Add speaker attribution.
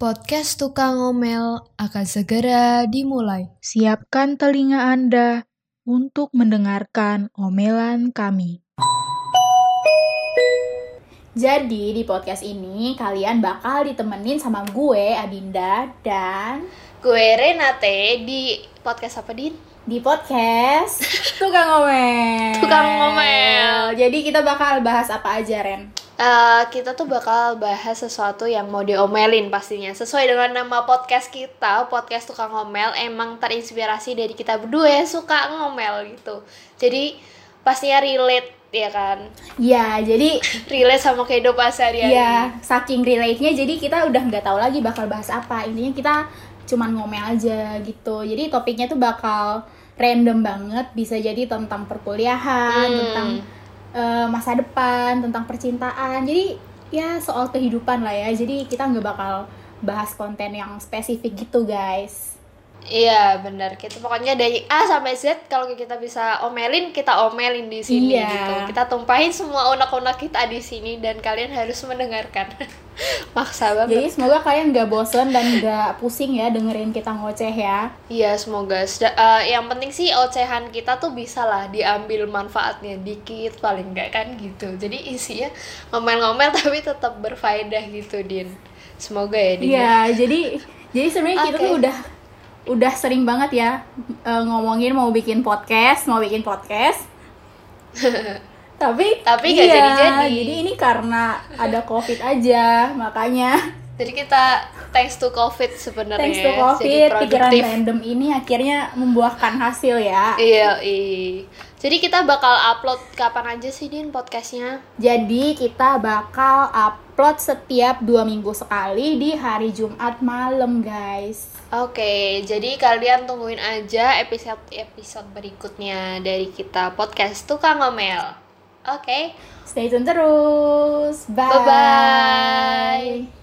Speaker 1: Podcast Tukang Ngomel akan segera dimulai.
Speaker 2: Siapkan telinga Anda untuk mendengarkan omelan kami.
Speaker 3: Jadi di podcast ini kalian bakal ditemenin sama gue Adinda dan
Speaker 4: Gue Renate di podcast apa Din?
Speaker 3: di podcast Tukang Ngomel.
Speaker 4: Tukang Ngomel.
Speaker 3: Jadi kita bakal bahas apa aja Ren?
Speaker 4: Eh, kita tuh bakal bahas sesuatu yang mau diomelin pastinya Sesuai dengan nama podcast kita, podcast tukang ngomel Emang terinspirasi dari kita berdua yang suka ngomel gitu Jadi pastinya relate ya kan
Speaker 3: Ya jadi
Speaker 4: Relate sama kehidupan sehari-hari
Speaker 3: ya saking relate-nya jadi kita udah nggak tahu lagi bakal bahas apa. Intinya kita cuman ngomel aja gitu. Jadi topiknya tuh bakal random banget bisa jadi tentang perkuliahan,
Speaker 4: Hmm.
Speaker 3: tentang eh, masa depan, tentang percintaan. Jadi ya soal kehidupan lah ya. Jadi kita nggak bakal bahas konten yang spesifik gitu guys.
Speaker 4: Iya benar kita pokoknya dari A sampai Z kalau kita bisa omelin kita omelin di sini
Speaker 3: Iya.
Speaker 4: gitu kita tumpahin semua unek-unek kita di sini dan kalian harus mendengarkan maksa banget
Speaker 3: Jadi semoga kalian nggak bosen dan nggak pusing ya dengerin kita ngoceh ya.
Speaker 4: iya semoga Seda- eh, yang penting sih ocehan kita tuh bisa lah diambil manfaatnya dikit paling enggak kan gitu jadi isinya ngomel-ngomel tapi tetap berfaedah gitu Din semoga ya Din ya.
Speaker 3: Iya, jadi jadi sebenarnya kita
Speaker 4: Oke.
Speaker 3: tuh udah udah sering banget ya eh, ngomongin mau bikin podcast, mau bikin podcast. tapi
Speaker 4: Tapi nggak
Speaker 3: iya,
Speaker 4: jadi-jadi.
Speaker 3: Jadi ini karena ada covid aja, makanya
Speaker 4: jadi kita thanks to covid sebenarnya
Speaker 3: thanks to
Speaker 4: ya,
Speaker 3: covid
Speaker 4: jadi
Speaker 3: pikiran
Speaker 4: produktif.
Speaker 3: random ini akhirnya membuahkan hasil ya.
Speaker 4: Iya, iya. Jadi kita bakal upload kapan aja sih Din podcastnya?
Speaker 3: Jadi kita bakal upload setiap dua minggu sekali di hari Jumat malam guys.
Speaker 4: Oke, jadi kalian tungguin aja episode episode berikutnya dari kita podcast tukang ngomel. Oke.
Speaker 3: Stay tune terus. Bye.
Speaker 4: Bye-bye.